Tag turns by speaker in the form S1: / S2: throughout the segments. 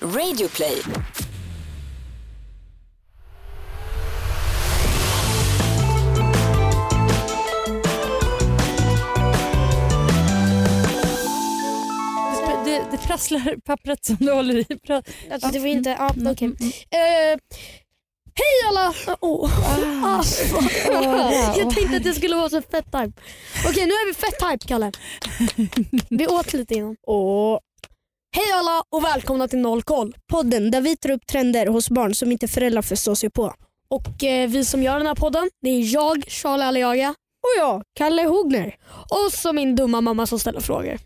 S1: Radioplay.
S2: Det, det, det prasslar pappret som du håller i. Pra,
S3: Alltså, det var
S4: Mm.
S3: inte... Ja,
S2: Mm,
S3: okej. Eh, hej alla! Åh,
S2: mm.
S3: ah,
S2: wow.
S3: jag tänkte att det skulle vara så fett hype. Okej, nu är vi fett hype, Kalle. Vi åt lite innan.
S4: Och
S3: Hej alla och välkomna till Noll koll.
S4: podden där vi tar upp trender hos barn som inte föräldrar förstår sig på.
S3: Och eh, Vi som gör den här podden, det är jag, Charlie Aliaga
S4: Och jag, Kalle Hogner.
S3: och så min dumma mamma som ställer frågor.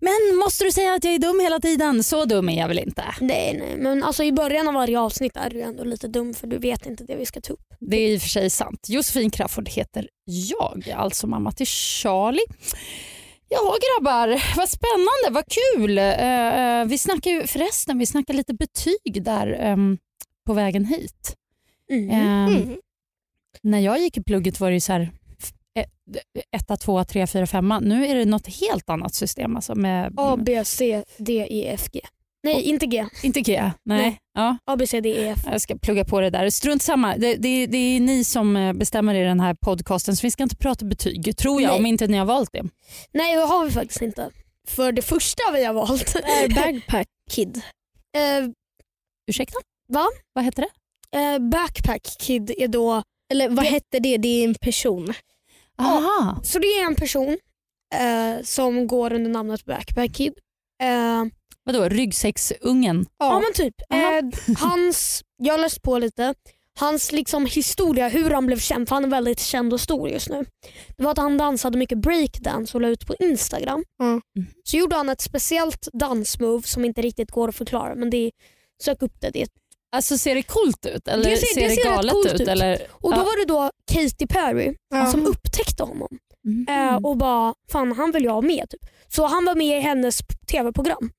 S2: Men måste du säga att jag är dum hela tiden? Så dum är jag väl inte?
S3: Nej, nej, men alltså i början av varje avsnitt är du ju ändå lite dum för du vet inte det vi ska ta upp.
S2: Det är i och för sig sant. Josefin Crafoord heter jag, alltså mamma till Charlie. Ja grabbar, vad spännande, vad kul. Eh, eh, vi snackar ju förresten, vi snackar lite betyg där ehm, på vägen hit.
S3: Mm.
S2: Ehm, När jag gick i plugget var det ju så här f- eh, etta, tvåa, trea, fyra, femma. Nu är det något helt annat system. Alltså med,
S3: A, B, C, D, E, F, G. Nej, inte G.
S2: Inte GEA. Nej.
S3: Nej.
S2: Ja,
S3: A, B, C, D, E, F.
S2: jag ska plugga på det där. Strunt samma. Det, det, det är ni som eh, bestämmer i den här podcasten så vi ska inte prata betyg tror jag
S3: Nej.
S2: om inte ni har valt det.
S3: Nej, det har vi faktiskt inte. För det första vi har valt
S4: Är Bagpack Kid.
S3: eh,
S2: Ursäkta?
S3: Va?
S2: Vad heter det?
S3: eh, Backpack Kid är då...
S4: Eller vad
S3: Det-
S4: hette det? Det är en person.
S2: Aha.
S3: Så det är en person eh, som går under namnet Backpack Kid. Eh, ja.
S2: Vadå, ryggsäcksungen?
S3: men typ.
S2: Aha.
S3: Eh, hans, jag har läst på lite. Hans liksom historia, hur han blev känd, för han är väldigt känd och stor just nu. Det var att han dansade mycket breakdance och la ut på Instagram.
S4: Mm.
S3: Så gjorde han ett speciellt dansmove som inte riktigt går att förklara men det är, sök upp det, det är ett
S2: Alltså ser det coolt ut eller
S3: Det ser-
S2: ser,
S3: det
S2: det
S3: ser rätt
S2: galet
S3: coolt
S2: ut?
S3: ut.
S2: Eller?
S3: Och då
S2: Ja.
S3: var det då Katy Perry
S4: Ja. Mm.
S3: som upptäckte honom
S2: Mhm.
S3: eh, och bara fan han vill jag ha med. Typ. Så han var med i hennes p- tv-program.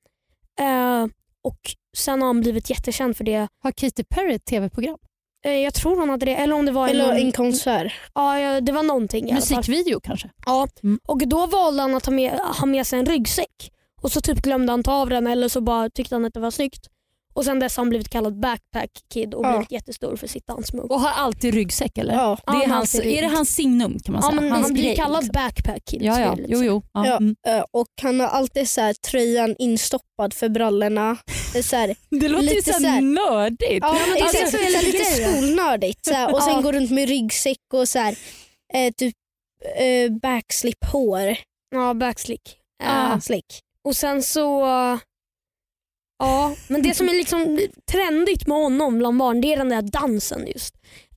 S3: Eh, och Sen har han blivit jättekänd för det.
S2: Har Katy Perry ett tv-program?
S3: Eh, jag tror han hade det. Eller om det var
S4: Eller
S3: någon,
S4: en konsert.
S3: ja, ja, det var någonting i alla fall.
S2: Musikvideo kanske?
S3: Ja.
S2: Mm.
S3: Och Då valde han att ha med, ha med sig en ryggsäck. Och Så typ glömde han ta av den eller så bara tyckte han att det var snyggt. Och Sen dess har han blivit kallad backpack kid och
S4: Ja.
S3: blivit jättestor för sitt dansmove.
S2: Och har alltid ryggsäck eller?
S4: Ja.
S3: Ja,
S2: Det är,
S3: han har
S2: hans,
S3: alltid
S2: är det
S3: ryggsäck.
S2: hans signum kan man
S3: Ja,
S2: säga?
S3: men
S2: hans
S3: han blir
S2: grej,
S3: kallad
S2: liksom.
S3: backpack kid. liksom.
S2: Ja,
S3: så det
S2: ja.
S3: är lite
S2: Jo,
S3: så.
S2: jo. Ja.
S4: Ja.
S2: Mm.
S4: Eh, Och Han har alltid så här, tröjan instoppad för brallorna. Det är Så här,
S2: Det låter
S4: Lite
S2: ju så
S4: så
S2: här
S4: här-
S2: nördigt.
S4: ja, men det är
S3: Alltså,
S4: så här, så här, lite
S3: grejer.
S4: skolnördigt. Så här, och sen
S3: Ja.
S4: går runt med ryggsäck och så här, eh, typ eh, backslip-hår.
S3: Ja, backslick.
S2: Ah.
S3: Eh,
S4: Slick.
S3: och sen så... Ja, men det som är liksom trendigt med honom bland barn det är den där dansen just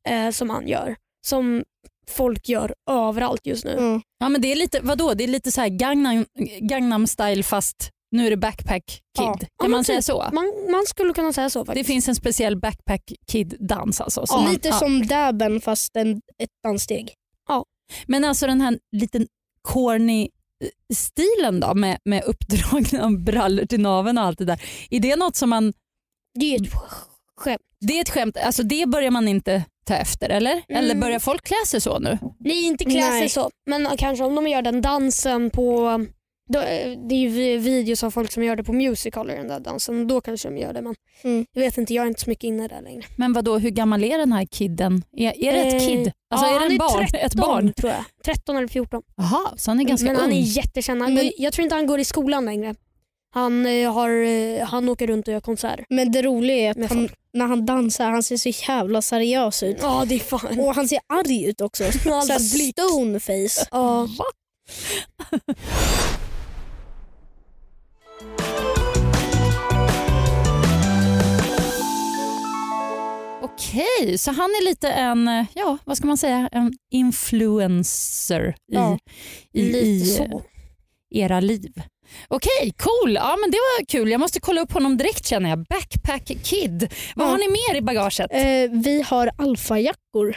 S3: eh, som han gör. Som folk gör överallt just nu.
S4: Mm.
S2: Ja, men det är lite, vadå? Det är lite så här Gangnam, Gangnam style fast nu är det backpack kid.
S4: Ja.
S2: Kan
S3: Ja, men
S2: man
S3: typ.
S2: säga så?
S3: Man, man skulle kunna säga så
S2: Det
S3: faktiskt.
S2: finns en speciell backpack kid-dans alltså. som
S4: Ja,
S2: man-
S4: lite
S2: ja.
S4: som dabben fast en, ett danssteg.
S2: Men alltså den här liten corny eh, stilen då med, med uppdragna brallor till naveln och allt det där. Är det något som man,
S3: Det är ju ett skämt.
S2: det är ett skämt, alltså det börjar man inte ta efter eller? Eller
S3: Mm.
S2: börjar folk klä sig så nu?
S3: Nej, inte klä sig
S4: Nej.
S3: så. Men kanske om de gör den dansen på... Då, eh, det är ju vi- videos av folk som gör det på musical, den där dansen. Då kanske de gör det men
S4: Mm.
S3: jag vet inte, jag är inte så mycket inne där längre.
S2: Men vad då hur gammal är den här kidden? Är, är det ett
S3: Eh,
S2: kid? Alltså
S3: ja,
S2: är det
S3: han
S2: en
S3: är
S2: barn? ett barn?
S3: tror jag. 13 eller 14.
S2: Jaha, så han är ganska
S3: men han är
S2: ung.
S3: jättekänd. Han,
S4: Men-
S3: jag tror inte han går i skolan längre. Han, eh, har, eh, han åker runt och gör konserter.
S4: Men det roliga är
S3: Med
S4: att han, när han dansar han ser så jävla seriös ut.
S3: Ja, det är fan. Alltså,
S4: Och han ser arg ut också.
S3: Hans
S4: Så här
S3: blick.
S4: stoneface.
S3: Ja.
S2: Okej, så han är lite en, eh, ja vad ska man säga, en influencer i,
S3: Ja,
S2: i, i
S3: lite
S2: eh,
S3: så.
S2: era liv. Okej, cool. Ja, men det var kul. Jag måste kolla upp honom direkt känner jag. Backpack Kid. Vad
S4: Ja.
S2: har ni mer i bagaget?
S4: Eh, vi har alfajackor.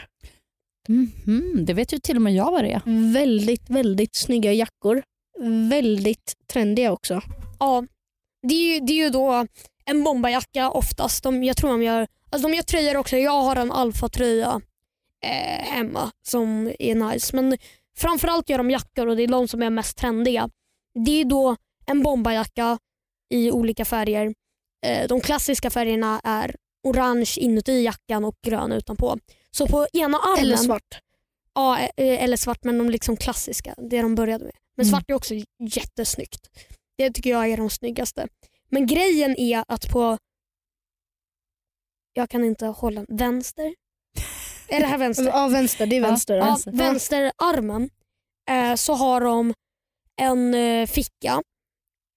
S2: Mhm, det vet ju till och med jag vad det är.
S4: Väldigt, väldigt snygga jackor. Väldigt trendiga också.
S3: Ja. Det är ju, det är ju då en bombarjacka oftast. De, jag tror de gör, alltså de gör tröjor också. Jag har en alfatröja eh, hemma som är nice. Men framförallt gör de jackor och det är de som är mest trendiga. Det är ju då en bombarjacka i olika färger Eh, de klassiska färgerna är orange inuti jackan och grön utanpå. Så på ena armen,
S4: Eller svart.
S3: Ja, eh, eller svart men de liksom klassiska, det de började med. Men
S2: Mm.
S3: svart är också jättesnyggt. Det tycker jag är de snyggaste. Men grejen är att på, jag kan inte hålla, vänster? Är det här vänster?
S4: Ja, vänster. Det är
S2: Ja.
S4: vänster. alltså.
S2: Ja,
S3: Ja,
S4: vänster.
S3: vänsterarmen eh, så har de en eh, ficka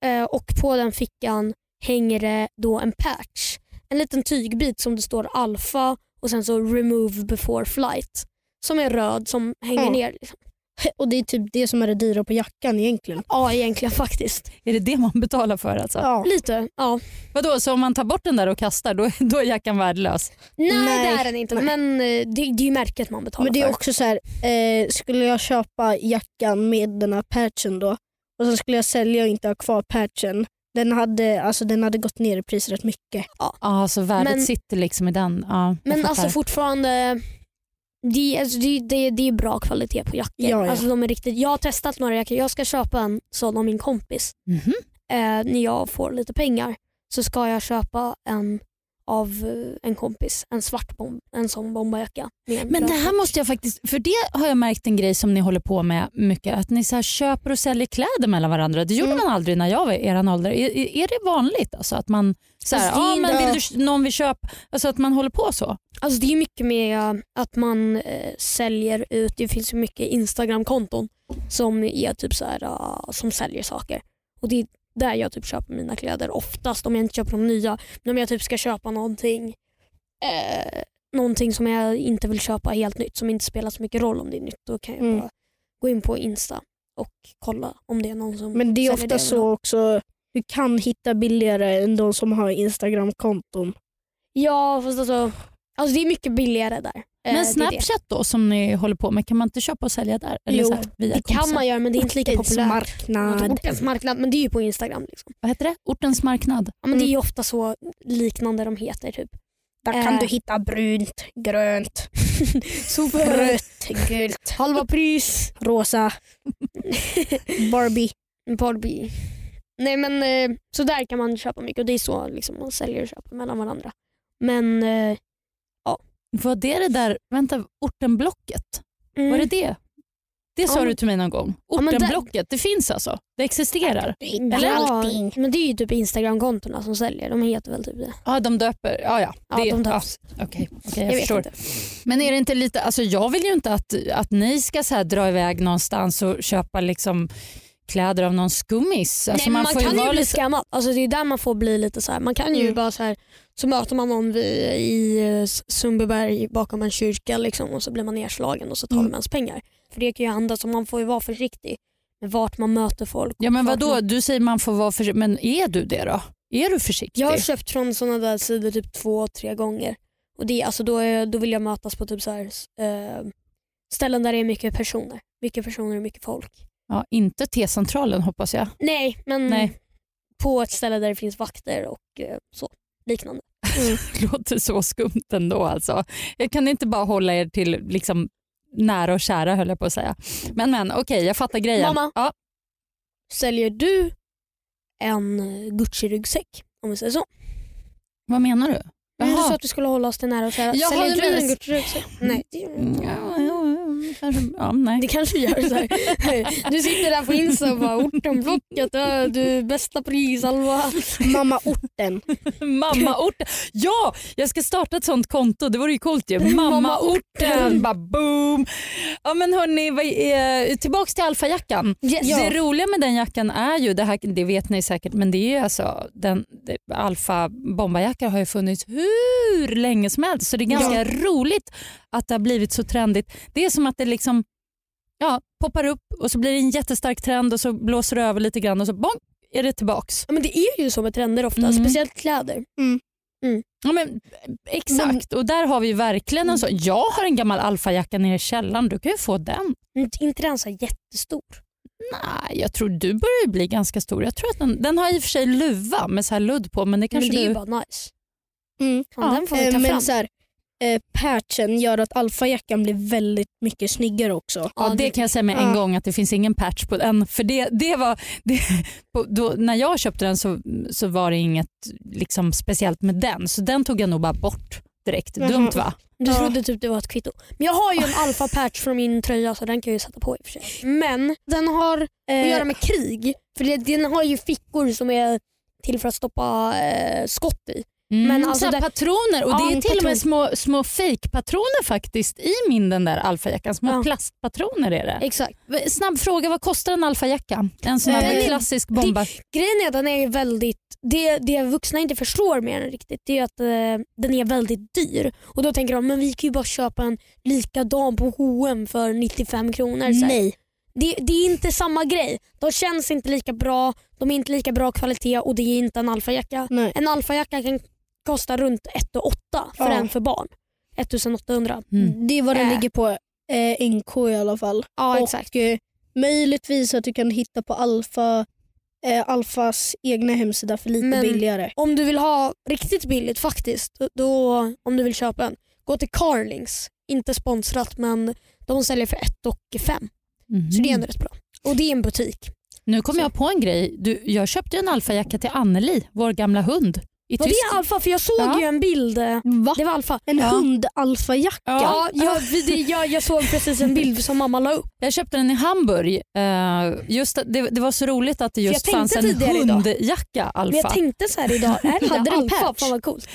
S3: eh, och på den fickan hänger det då en patch. En liten tygbit som det står alfa och sen så remove before flight som är röd som hänger
S4: Ja.
S3: ner. Liksom.
S4: Och Det är typ det som är det dyra på jackan egentligen.
S3: Ja egentligen faktiskt.
S2: Är det det man betalar för alltså?
S4: Ja.
S3: Lite. Ja.
S2: Vadå, så om man tar bort den där och kastar då, då är jackan värdelös?
S3: Nej,
S4: Nej.
S3: det är den inte men eh, det, det är ju märket man betalar
S4: Men det är
S3: för.
S4: också så här, eh, skulle jag köpa jackan med den här patchen då och sen skulle jag sälja och inte ha kvar patchen. Den hade, alltså, den hade gått ner i pris rätt mycket.
S2: Ja, så värdet
S3: Men-
S2: sitter liksom i den. Ja, jag
S3: Men
S2: fattar.
S3: alltså fortfarande, det, är- alltså det, det, det är bra kvalitet på jackor.
S4: Ja, ja.
S3: Alltså de är riktigt, jag har testat några jackor, jag ska köpa en sån av min kompis.
S2: Mhm.
S3: Eh, när jag får lite pengar så ska jag köpa en av eh, en kompis, en svart bomb, en sån bomberjacka. med en
S2: Men det
S3: röd
S2: här
S3: patch.
S2: måste jag faktiskt, för det har jag märkt en grej som ni håller på med mycket, att ni så här köper och säljer kläder mellan varandra. Det gjorde
S4: Mm.
S2: man aldrig när jag var i eran ålder. Är, är- är det vanligt alltså, att man så här,
S3: Alltså, det är
S2: ja, men
S4: inte-
S2: vill du, någon vill köpa, alltså att man håller på så?
S3: Alltså det är mycket med eh, att man eh, säljer ut, det finns ju mycket Instagram-konton som, är typ så här, eh, som säljer saker. Och Det är där jag typ köper mina kläder oftast om jag inte köper de nya. Men om jag typ ska köpa någonting, eh, någonting som jag inte vill köpa helt nytt som inte spelar så mycket roll om det är nytt. Då kan jag
S4: Mm.
S3: bara gå in på Insta och kolla om det är någon som
S4: Men det är
S3: säljer
S4: ofta
S3: jag vill ha.
S4: så också, du kan hitta billigare än de som har Instagram-konton.
S3: Ja fast alltså, alltså det är mycket billigare där. Eh, det är
S2: Men
S3: det.
S2: Snapchat då som ni håller på med, kan man inte köpa och sälja där? Eller
S4: Jo,
S2: så här, via
S3: Det kan
S2: kompisar?
S3: man göra men det är inte lika populärt.
S4: Marknad.
S3: Ortens marknad, men det är ju på Instagram. Liksom.
S2: Vad heter det? Ortens marknad.
S3: Ja, men Det är ju ofta så liknande de heter. Typ.
S4: Där kan
S3: Eh.
S4: du hitta brunt, grönt,
S3: Super.
S4: rött, gult,
S3: Halva pris.
S4: rosa, Barbie.
S3: Barbie. Nej men eh, så där kan man köpa mycket och det är så liksom, man säljer och köper mellan varandra. Men eh,
S2: Vad är det där, vänta, ortenblocket?
S3: mm,
S2: Vad är det? Det sa
S3: Ja, men-
S2: du till mig någon gång.
S3: men där-
S2: Ortenblocket, det finns alltså? Det existerar?
S4: Du hittar
S2: Eller
S4: allting.
S3: Ja, men det är ju typ Instagram-kontona som säljer. De heter väl typ det.
S2: Ja, de döper. Ja, ja.
S3: Ja,
S2: det,
S3: de
S2: ja.
S3: döps.
S2: Okej, okej,
S3: jag
S2: jag,
S3: vet
S2: förstår.
S3: inte.
S2: Men är det inte lite, alltså jag vill ju inte att, att ni ska så här dra iväg någonstans och köpa liksom kläder av någon skummis. Alltså
S3: Nej, men man
S2: får ju
S3: kan ju
S2: vara
S3: bli
S2: lite-
S3: skammad. Alltså, det är där man får bli lite så här. Man kan ju
S4: Mm.
S3: bara så här, så möter man någon vid, i eh, S- Sundbyberg bakom en kyrka liksom, och så blir man nedslagen och så tar
S4: Mm.
S3: de ens pengar. För det kan ju hända så man får ju vara försiktig med vart man möter folk.
S2: Ja men
S3: Vart
S2: vadå,
S3: man-
S2: du säger man får vara försiktig, men är du det då? Är du försiktig?
S3: Jag har köpt från sådana där sidor typ två, tre gånger. Och det, är- alltså, då, är, då vill jag mötas på typ så här, s- eh, ställen där det är mycket personer. Mycket personer och mycket folk.
S2: Ja, inte T-centralen hoppas jag.
S3: Nej, men
S2: Nej.
S3: på ett ställe där det finns vakter och eh, så. Liknande. Mm.
S2: Det låter så skumt ändå alltså. Jag kan inte bara hålla er till liksom nära och kära höll jag på att säga. Men men okej, jag fattar grejen.
S3: Mamma.
S2: Ja,
S3: säljer du en eh, Gucci-ryggsäck om vi säger så?
S2: vad menar du?
S3: Men Du
S2: Jaha.
S3: sa att vi skulle hålla oss till nära och kära.
S2: Jaha,
S3: säljer
S2: du
S3: du en
S2: menar-
S3: Gucci-ryggsäck? Nej. det gör du inte.
S2: Mm. Ja, ja, ja, kanske, ja, nej.
S3: Det kanske gör så här. Du sitter där på Insta och bara
S2: Mm.
S3: ortenblocket, ö, du bästa pris Alva.
S4: Mamma orten.
S2: Mammaorten. Ja, jag ska starta ett sånt konto. Det vore ju coolt ju. Mammaorten. Bara boom. Ja men hörni, vad är- tillbaks till alfajackan.
S3: Yes.
S2: Det roliga med den jackan är ju, det, här, det vet ni säkert, men det är ju alltså den, det, alfa bombarjackan har ju funnits hur länge som helst så det är ganska roligt att det har blivit så trendigt. Det är som att det liksom ja, poppar upp och så blir det en jättestark trend och så blåser det över lite grann och så bong, är det tillbaks.
S3: Ja, men det är ju så med trender ofta,
S2: Mm.
S3: speciellt kläder.
S2: Ja, men, Mm. exakt, och där har vi ju verkligen en sån. Jag har en gammal alfajacka nere i källaren, du kan ju få den.
S3: Inte- Inte den så här jättestor.
S2: Nej, jag tror du börjar ju bli ganska stor. Jag tror att den, den har i och för sig luva med så här ludd på men det kanske
S3: men det är
S2: du...
S3: ju bara nice.
S4: Mm.
S3: Fan,
S2: Ja,
S3: den får vi
S4: Eh,
S3: ta
S4: Men
S3: fram.
S4: så här, eh, patchen gör att alfajackan blir väldigt mycket snyggare också.
S2: Ja,
S3: Ja,
S2: det
S3: det-
S2: kan jag säga med en
S4: ja.
S2: gång att det finns ingen patch på den. För det, det var, det, på, då, när jag köpte den så, så var det inget liksom, speciellt med den. Så den tog jag nog bara bort direkt.
S4: Mhm.
S2: Dumt va?
S3: Du
S4: Ja.
S3: trodde typ det var ett kvitto. Men jag har ju en alfa patch från min tröja så den kan jag ju sätta på i och för sig. Men den har att göra med krig. För det, den har ju fickor som är till för att stoppa eh, skott i.
S2: Mm,
S3: Men
S2: men
S3: alltså det-
S2: patroner och
S3: Ja,
S2: det är
S3: en
S2: till och med
S3: patron.
S2: små, små fake-patroner faktiskt i min den där alfajackan. Små
S3: Ja.
S2: plastpatroner är det.
S3: Exakt.
S2: Eh, V- Snabb fråga, vad kostar en alfajacka? En sån här
S3: Eh,
S2: klassisk bombar.
S3: Grejen är att den är ju väldigt, det, det vuxna inte förstår med den riktigt det är att eh, den är väldigt dyr. Och Då tänker de men vi kan ju bara köpa en likadan på H&M för 95 kronor. Så här.
S4: Nej.
S3: Det, det är inte samma grej. De känns inte lika bra, de är inte lika bra kvalitet och det är inte en alfajacka.
S4: Nej.
S3: En alfajacka kan kosta runt 1 800 för
S4: Ja.
S3: en för barn. 1800.
S2: Mm.
S4: Det är vad den
S3: Äh.
S4: ligger på eh, NK i alla fall.
S3: Ja
S4: Och eh, möjligtvis att du kan hitta på Alfa, eh, Alfas egna hemsida för lite
S3: Men-
S4: billigare.
S3: Om du vill ha riktigt billigt faktiskt, då, om du vill köpa en, gå till Carlings. Inte sponsrat men de säljer för 1 och 5.
S2: Mhm.
S3: Så det är ändå rätt bra. Och det är en butik.
S2: Nu kom jag på en grej. Du, jag köpte ju en alfajacka till Anneli, vår gamla hund. I
S3: Var det
S2: Tyskland.
S3: alfa? För jag såg
S2: Ja. Ah.
S3: ju en bild. eh,
S4: Va?
S3: Det var alfa.
S4: En
S2: Ja.
S4: hund-alfajacka?
S3: Ja, jag, vi- det- jag, jag såg precis en bild som mamma la upp.
S2: Jag köpte den i Hamburg. Eh, just att, det, det var så roligt att det
S3: jag
S2: just
S3: tänkte
S2: fanns en
S3: tidigare idag.
S2: hundjacka
S3: Men
S2: Alfa.
S3: jag tänkte så här idag, är det
S4: Hade
S3: där
S4: den
S3: alfa?
S4: patch?
S3: Fan vad coolt.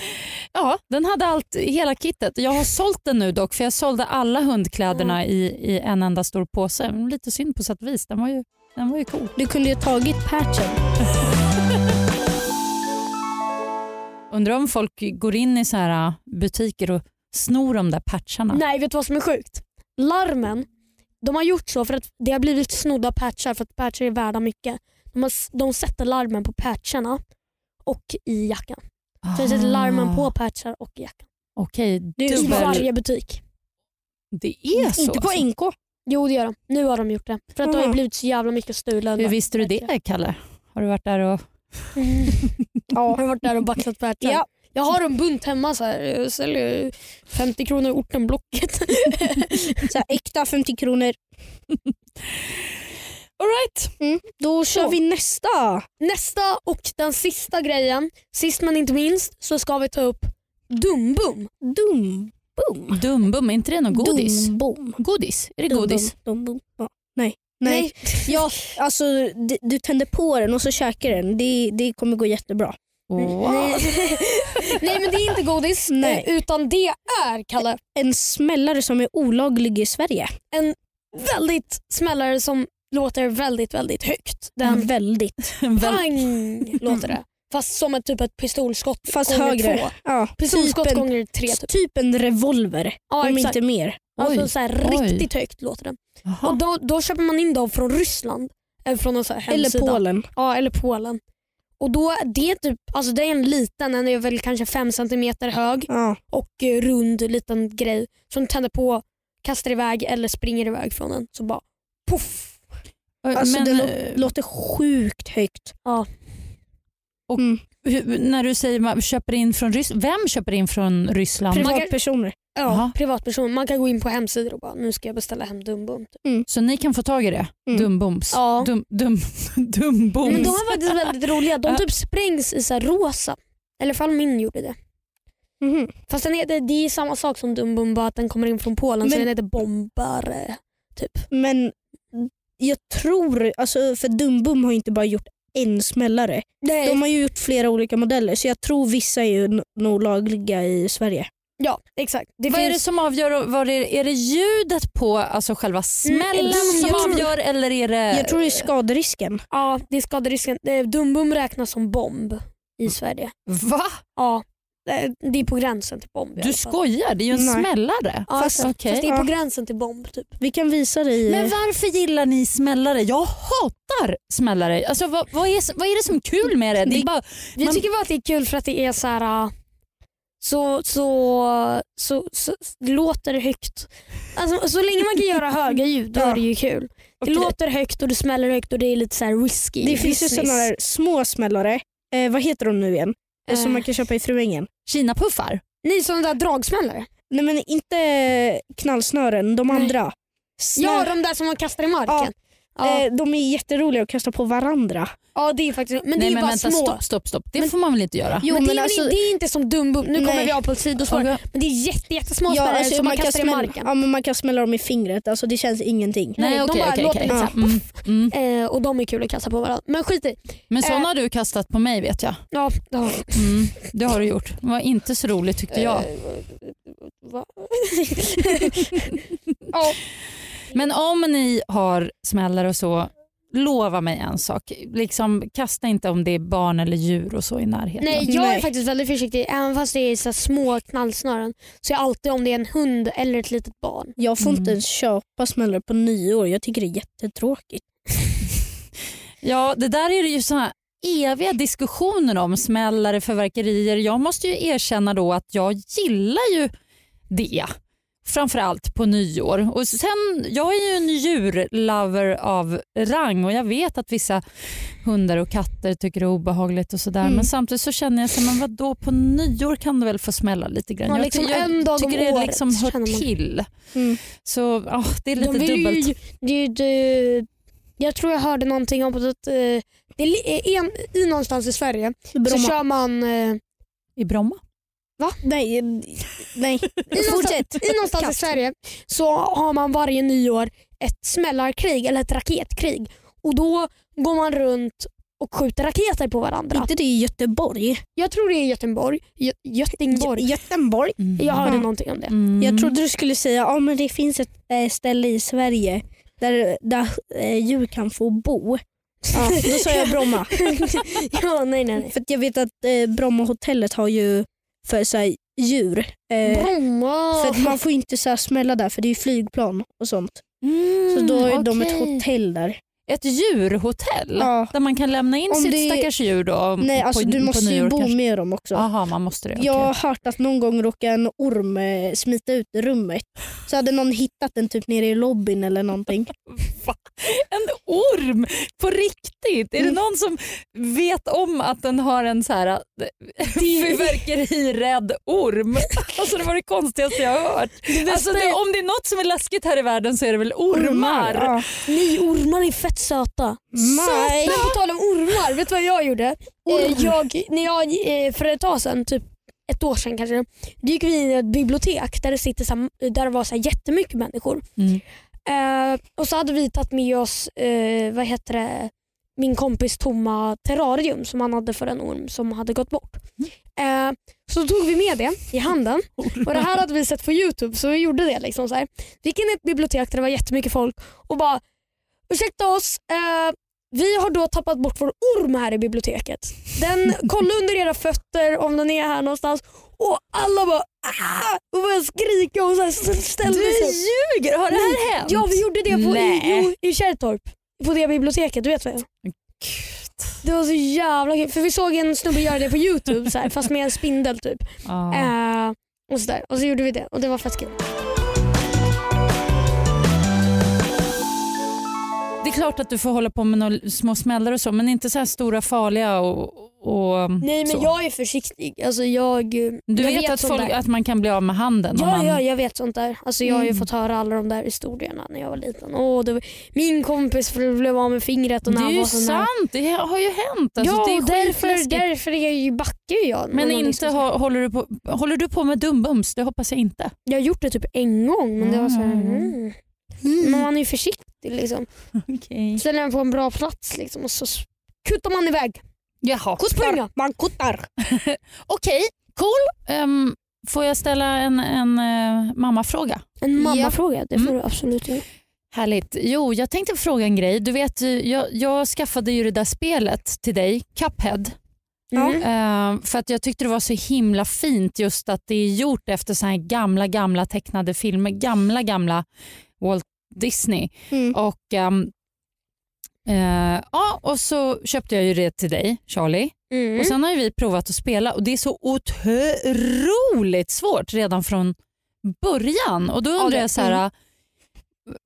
S2: Ja, den hade allt, hela kittet. Jag har sålt den nu dock för jag sålde alla hundkläderna i, i en enda stor påse. Men Lite synd på sätt och vis. Den var ju, den var ju cool.
S4: Du kunde ju ha tagit patchen.
S2: Undrar om folk går in i så här eh, butiker och snor de där patcharna.
S3: Nej, vet du vad som är sjukt? Larmen, de har gjort så för att det har blivit snodda patchar för att patchar är värda mycket. De, har, s- de sätter larmen på patcharna och i jackan. Så de sätter larmen på patchar och i jackan.
S2: Ah, Okej,
S4: är
S3: I
S4: Dubbel.
S2: dubbel.
S3: varje butik.
S2: Det är så.
S4: Inte på
S2: alltså.
S4: NK.
S3: Jo det gör de. Nu har de gjort det. För att det har ju
S4: Mm.
S3: blivit så jävla mycket stulen.
S2: Hur visste du det Kalle? Har du varit där och...
S3: Ja. Jag Mm. har varit där och baxat patchar.
S4: Ja.
S3: Jag har en bunt hemma. Så här. Jag säljer ju 50 kronor i ortenblocket.
S4: Så här, äkta 50 kronor.
S2: All right.
S4: Då kör
S3: Så.
S4: vi nästa.
S3: Nästa och den sista grejen, sist men inte minst, så ska vi ta upp Dumbum.
S4: Dum. Boom.
S2: Dumbum, är inte det något godis?
S4: Dum, boom.
S2: Godis? Är det
S4: Dum,
S2: godis?
S4: Dum, dum, dum. Ja. Nej. Nej. Ja, alltså, d- du tänder på den och så käkar den. Det, det kommer gå jättebra.
S2: Wow.
S3: Nej. Nej men det är inte godis
S4: Nej.
S3: eh, utan det är, Kalle,
S4: En smällare som är olaglig i Sverige.
S3: väldigt smällare som låter väldigt väldigt högt. Den
S4: Mm. Väldigt.
S2: Väl-
S3: pang låter det. Fast som ett, typ ett pistolskott
S4: Fast
S3: gånger
S4: högre.
S3: två.
S4: Ja,
S3: Pistolskott
S4: typ en,
S3: gånger tre. Typ.
S4: typ en revolver,
S3: Ja,
S4: om
S3: exakt.
S4: inte mer.
S3: Alltså
S2: Oj.
S3: så här,
S2: Oj.
S3: riktigt högt låter den.
S2: Jaha.
S3: Och då, då köper man in dem från Ryssland. Eller från en så här hemsida.
S4: Eller Polen.
S3: Ja, eller Polen. Och då, det, är typ, alltså det är en liten, den är väl kanske fem centimeter hög
S4: Ja.
S3: och eh, rund liten grej som tänder på, kastar iväg eller springer iväg från den. Så bara poff.
S4: Alltså,
S2: Men,
S4: det
S2: eh,
S4: lå- låter sjukt högt.
S2: Hur, när du säger man köper in från Ryssland, vem köper in från Ryssland?
S3: Privat-
S4: Privatpersoner.
S3: Ja,
S2: Jaha.
S3: privatperson. Man kan gå in på hemsidor och bara nu ska jag beställa hem Dumbo.
S2: Så ni kan få tag i det?
S4: Mm.
S2: Dumboms?
S3: Ja.
S2: Dum, dum, dumboms?
S3: Men de är faktiskt väldigt roliga. De typ sprängs i så här rosa. Eller i alla fall min gjorde det.
S4: Mhm.
S3: Fast den heter, det är samma sak som Dumbo bara att den kommer in från Polen så
S4: Men-
S3: den heter Bombare.
S4: Men jag tror, alltså, för Dumbum har ju inte bara gjort en smällare.
S3: Nej.
S4: De har ju gjort flera olika modeller så jag tror vissa är ju n- nog lagliga i Sverige.
S3: Ja, exakt. Det
S2: vad är det
S3: finns-
S2: som avgör? Vad är, är det ljudet på alltså själva smällen som
S3: jag tror-
S2: avgör eller är det...
S4: Jag tror det är
S3: Eh.
S4: skaderisken.
S3: Ja, det är skaderisken. Eh, Dumbum räknas som bomb i Sverige.
S2: Va?
S3: Ja, eh, det är på gränsen till bomb. i
S2: Du
S3: alla fall.
S2: skojar? Det är ju en
S4: Nej.
S2: smällare.
S3: Ja,
S4: Fast-
S3: fast,
S2: Okej.
S3: fast det är på
S4: Ja.
S3: gränsen till bomb. Typ.
S4: Vi kan visa dig.
S2: Men varför gillar ni smällare? Jag hatar smällare. Alltså, vad, vad, är, vad är det som är kul med det? det är
S4: Det-
S2: bara,
S3: Vi
S2: Man-
S3: tycker bara att det är kul för att det är så här... äh, Så, så, så, så, så låter det högt. Alltså, så länge man kan göra höga ljud då
S4: Ja.
S3: är det ju kul. Det
S2: Okej.
S3: låter högt och det smäller högt och det är lite så här risky.
S4: det finns ju
S3: business.
S4: sådana där små smällare. Eh, vad heter de nu igen? Eh,
S3: Eh.
S4: Som man kan köpa i Fruängen.
S2: Kina puffar.
S3: Nej, sådana där dragsmällare.
S4: Nej men inte knallsnören, de
S3: Nej.
S4: andra. Snö,
S3: Ja, de där som man kastar i marken. Ja,
S4: eh, de är jätteroliga att kasta på varandra.
S3: ja det är faktiskt Men det
S2: Nej
S3: är ju
S2: men
S3: bara
S2: vänta,
S3: små.
S2: stopp, stopp, stopp. Det
S3: Men-
S2: får man väl inte göra?
S3: Jo,
S4: Men
S3: men det, är,
S4: men
S3: väl
S4: alltså-
S3: in- det är inte som Dumbo. Nu kommer
S4: Nej.
S3: vi av på ett sidospår.
S2: Okej.
S3: Men det är jätte, jättesmå spärrar
S4: alltså,
S3: som man, kastar i
S4: smälla-
S3: marken.
S4: Ja, men man kan smälla dem i fingret, alltså, det känns ingenting.
S3: Nej,
S2: Nej
S3: de
S2: okej,
S3: bara
S2: okej.
S3: låter
S2: okej.
S3: lite
S2: Ja,
S3: så här,
S2: mm, mm.
S3: Eh, och de är kul att kasta på varandra. Men skit i.
S2: Men
S3: Eh.
S2: sådana har du kastat på mig vet jag.
S3: Ja, ja.
S2: Mm, det har du gjort. Det var inte så roligt tyckte jag.
S3: Eh, va? ja.
S2: Men om ni har smällar och så, lova mig en sak. Liksom, kasta inte om det är barn eller djur och så i närheten.
S3: Nej, jag är
S4: Nej.
S3: faktiskt väldigt försiktig. Även fast det är så här små knallsnören så är jag alltid om det är en hund eller ett litet barn.
S4: Jag får
S2: Mm.
S4: inte ens köpa smällare på nio år. Jag tycker det är jättetråkigt.
S2: Ja, det där är det ju såna här eviga diskussioner om smällare, förverkerier. Jag måste ju erkänna då att jag gillar ju det. Framförallt på nyår. Och sen, jag är ju en djurlover av rang och jag vet att vissa hundar och katter tycker det är obehagligt och sådär.
S4: Mm.
S2: Men samtidigt så känner jag så, här, men vadå på nyår kan det väl få smälla lite grann.
S3: Ja,
S2: jag
S3: liksom
S2: ty- jag
S3: en dag om
S2: tycker det
S3: året
S2: liksom hör
S3: känner man.
S2: till.
S4: Mm.
S2: Så ja, det är lite
S3: De vill
S2: dubbelt.
S3: Ju, det är ju, det, jag tror jag hörde någonting om att eh, det är li- eh, en, i någonstans i Sverige så
S4: Bromma.
S3: kör man eh,
S2: I Bromma?
S4: Nej, eh, nej.
S3: I
S4: fortsätt.
S3: någonstans, I någonstans i
S4: Kast.
S3: Sverige så har man varje nyår ett smällarkrig eller ett raketkrig. Och Då går man runt och skjuter raketer på varandra.
S4: inte det i Göteborg?
S3: Jag tror det är Göteborg. Gö- Göteborg.
S4: Gö- Göteborg?
S3: Jag hörde
S4: Mm.
S3: någonting om det.
S2: Mm.
S4: Jag trodde du skulle säga att men det finns ett eh, ställe i Sverige där, där eh, djur kan få bo. Ja, då sa jag Bromma.
S3: ja, nej, nej, nej.
S4: För att jag vet att eh, Brommahotellet har ju för så här, djur. Eh,
S3: Bromma.
S4: för att man får inte så här, smälla där för det är ju flygplan och sånt. Så
S3: Mm,
S4: då har ju de ett hotell där.
S2: Ett djurhotell?
S4: Ja.
S2: Där man kan lämna in
S4: Om
S2: sitt
S4: det-
S2: stackars djur då?
S4: Nej, alltså
S2: på,
S4: du
S2: på
S4: måste ju
S2: nyår
S4: bo
S2: kanske.
S4: med dem också.
S2: Jaha, man måste det. okej.
S4: Jag har hört att någon gång råkade en orm eh, smita ut ur rummet. Så hade någon hittat den typ nere i lobbyn eller någonting.
S2: Va? En orm? På riktigt? Är
S4: Mm.
S2: det någon som vet om att den har en så här fyrverkerirädd orm? Alltså det var det konstigaste jag har hört. Alltså, det, om det är något som är läskigt här i världen så är det väl ormar?
S4: Ja.
S3: Nej, ormar är fett söta.
S4: Nej.
S3: Men på tal om ormar, vet du vad jag gjorde?
S4: Orm.
S3: Eh, Jag, när jag, eh, för ett tag sedan, typ ett år sedan kanske, då gick vi in i ett bibliotek där det, sitter så här, där det var så här jättemycket människor.
S2: Mm.
S3: Eh, och så hade vi tagit med oss eh, vad heter det, min kompis tomma terrarium som han hade för en orm som hade gått bort. Eh, så tog vi med det i handen och det här hade vi sett på Youtube så vi gjorde det. Liksom så här. Vi gick in i ett bibliotek där det var jättemycket folk och bara ursäkta oss, eh, vi har då tappat bort vår orm här i biblioteket. Den, kolla under era fötter om den är här någonstans. Och alla bara ah! och började skrika och så här ställde
S2: Du
S3: sig upp.
S2: ljuger! Har det här hänt?
S3: Ja vi gjorde det på
S2: Nej.
S3: i, jo, i Kärrtorp. På det biblioteket, du vet vad jag
S2: Gud.
S3: Det var så jävla kul. För vi såg en snubbe göra det på youtube så här, fast med en spindel typ.
S2: Ja.
S3: Eh, och, så där. och så gjorde vi det och det var fett kul.
S2: Det är klart att du får hålla på med några små smällar och så men inte så här stora farliga och, och
S3: Nej men
S2: så.
S3: jag är försiktig. Alltså, jag, du
S2: Du vet, att, folk, att man kan bli av med handen? om
S3: Ja,
S2: man...
S3: ja, jag vet sånt där. Alltså, jag har ju
S2: Mm.
S3: fått höra alla de där historierna när jag var liten. Åh, det var... Min kompis blev av med fingret och
S2: Det är
S3: när han
S2: ju
S3: var sån här.
S2: sant, det har ju hänt. Alltså,
S3: ja,
S2: det är
S3: därför,
S2: skitläskigt.
S3: därför är jag ju backar ju jag. när
S2: Men
S3: någon
S2: inte
S3: liksom-
S2: ha, håller, du på, håller du på med dumbums? Det hoppas jag inte.
S3: Jag har gjort det typ en gång men det var så här,
S2: Mm.
S3: mm. Men man är ju försiktig liksom. Ställer den på en bra plats liksom och så s- kuttar man iväg.
S2: Jaha.
S3: Kuttar.
S4: Man kuttar.
S2: Okej, cool. Ehm, får jag ställa en, en eh, mammafråga?
S3: En
S2: Ja.
S3: mammafråga, det får
S2: Mm.
S3: du absolut göra.
S2: Härligt. Jo, jag tänkte fråga en grej. Du vet, jag, jag skaffade ju det där spelet till dig, Cuphead.
S4: Ja.
S3: Mm.
S2: Eh, för att jag tyckte det var så himla fint just att det är gjort efter så här gamla, gamla tecknade filmer. Gamla, gamla Walt Disney.
S4: Mm.
S2: Och, ehm, eh, ja, och så köpte jag ju det till dig, Charlie.
S3: Mm.
S2: Och Sen har ju vi provat att spela och det är så otroligt svårt redan från början. Och Då undrar
S3: det-
S2: jag så här,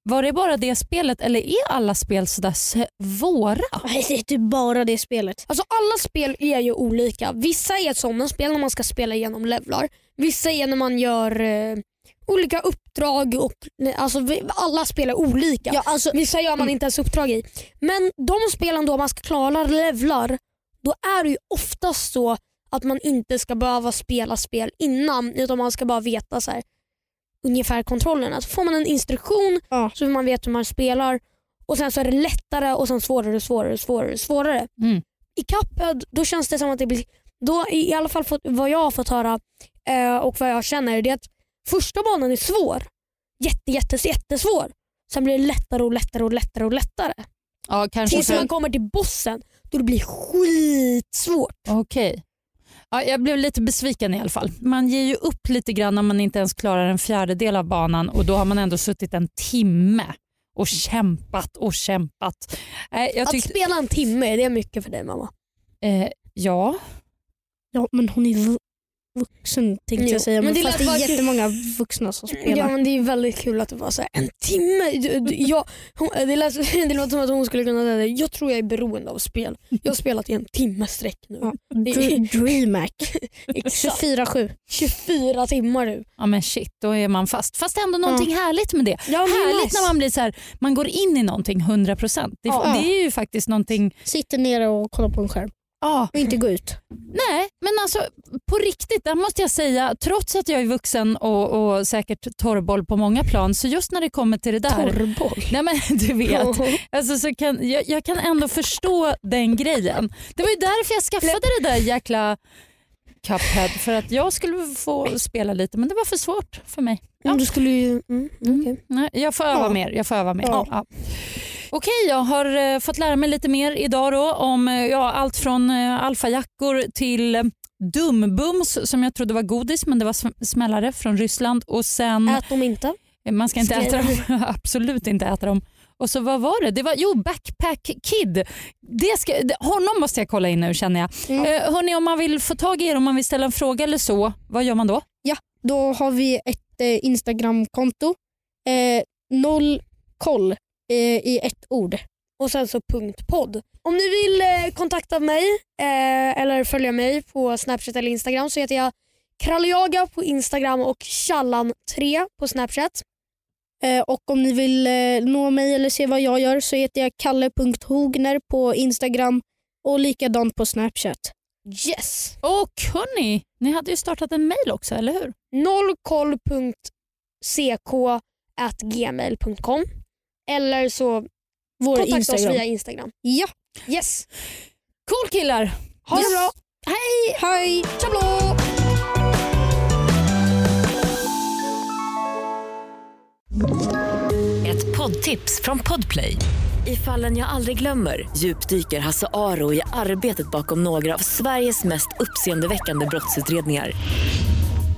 S2: Var det bara det spelet eller är alla spel sådär svåra?
S4: Nej, Det är typ bara det spelet.
S3: Alltså alla spel är ju olika. Vissa är sådana spel när man ska spela igenom levlar. Vissa är när man gör eh, olika uppdrag. och alltså, vi- Alla spel är olika.
S4: Ja, alltså,
S3: Vissa gör man inte ens uppdrag i. Men de spelen då man ska klara levlar, då är det ju oftast så att man inte ska behöva spela spel innan utan man ska bara veta så här, ungefär kontrollerna. Så får man en instruktion
S4: Ja.
S3: så man vet hur man spelar och sen så är det lättare och sen svårare och svårare och svårare. svårare.
S2: Mm.
S3: I Cuphead då känns det som att det blir, då, i i alla fall fått, vad jag har fått höra eh, och vad jag känner det är att första banan är svår. Jätte, jätte, jättesvår. Sen blir det lättare och lättare och lättare och lättare.
S2: Ja, kanske
S3: Tills
S2: så.
S3: man kommer till bossen då det blir skitsvårt.
S2: Okej. Ja, jag blev lite besviken i alla fall. Man ger ju upp lite grann när man inte ens klarar en fjärdedel av banan och då har man ändå suttit en timme och kämpat och kämpat. Nej, jag
S3: Att
S2: tyckte,
S3: spela en timme, det är mycket för dig mamma.
S2: eh, ja,
S4: ja, men hon är vu- vuxen tänkte
S3: Jo,
S4: jag säga.
S3: men
S4: Men
S3: det
S4: fast
S3: lät
S4: det är
S3: bara kul.
S4: jättemånga vuxna som spelar.
S3: Ja men det är väldigt kul att det var så här, en timme. Du, du, jag, hon, det, lät, det låter som att hon skulle kunna säga det. Jag tror jag är beroende av spel. Jag har spelat i en timme sträck nu.
S4: Ja.
S3: Det är
S4: Dr- DreamHack
S3: exakt
S4: 24-7.
S3: 24 timmar nu.
S2: ja, men shit, då är man fast. Fast ändå någonting härligt med det.
S3: Ja,
S2: Härligt när man blir så här, man går in i någonting 100%. Det,
S4: Ja.
S2: det är ju faktiskt någonting,
S4: Sitter nere och kollar på en skärm
S2: ja,
S4: och inte går ut.
S2: Nej, men alltså på riktigt, där måste jag säga, trots att jag är vuxen och, och säkert torrboll på många plan, så just när det kommer till det där,
S3: Torrboll.
S2: nej men du vet, alltså, så kan, jag, jag kan ändå förstå den grejen. Det var ju därför jag skaffade det där jäkla Cuphead, för att jag skulle få spela lite men det var för svårt för mig. Ja.
S3: Du skulle ju... Mm,
S2: Mm.
S3: okej.
S2: Nej, jag får öva
S4: Ja.
S2: mer. Jag får öva mer. Ja.
S4: Ja.
S2: Okej, jag har eh, fått lära mig lite mer idag då om eh, ja, allt från eh, alfajackor till eh, dumbums som jag trodde var godis men det var sm- smällare från Ryssland och sen
S3: Ät dem inte.
S2: eh, man ska inte
S3: Skräp.
S2: äta dem, absolut inte äta dem. Och så vad var det? Det var jo Backpack Kid. Det ska, det, honom måste jag kolla in nu känner jag.
S4: Mm.
S2: Eh, hörni, om man vill få tag i er, om man vill ställa en fråga eller så, vad gör man då?
S4: Då har vi ett eh, Instagramkonto. Eh, noll koll eh, i ett ord.
S3: och sen så punkt podd. Om ni vill eh, kontakta mig eh, eller följa mig på Snapchat eller Instagram så heter jag Kralljaga på Instagram och Challan3 på Snapchat.
S4: Eh, och om ni vill eh, nå mig eller se vad jag gör så heter jag kalle.hogner på Instagram och likadant på Snapchat.
S3: Yes!
S2: Och hörni, ni hade ju startat en mail också, eller hur?
S3: nollkoll.ck.gmail.com eller så
S4: Vår
S3: kontakta oss
S4: Instagram.
S3: via Instagram.
S4: Ja.
S3: Yes!
S2: Cool killar!
S3: Ha det
S4: Yes.
S3: bra!
S4: Hej! Hej!
S3: Tjablå!
S1: Ett poddtips från Podplay. I fallen jag aldrig glömmer djupdyker Hasse Aro i arbetet bakom några av Sveriges mest uppseendeväckande brottsutredningar.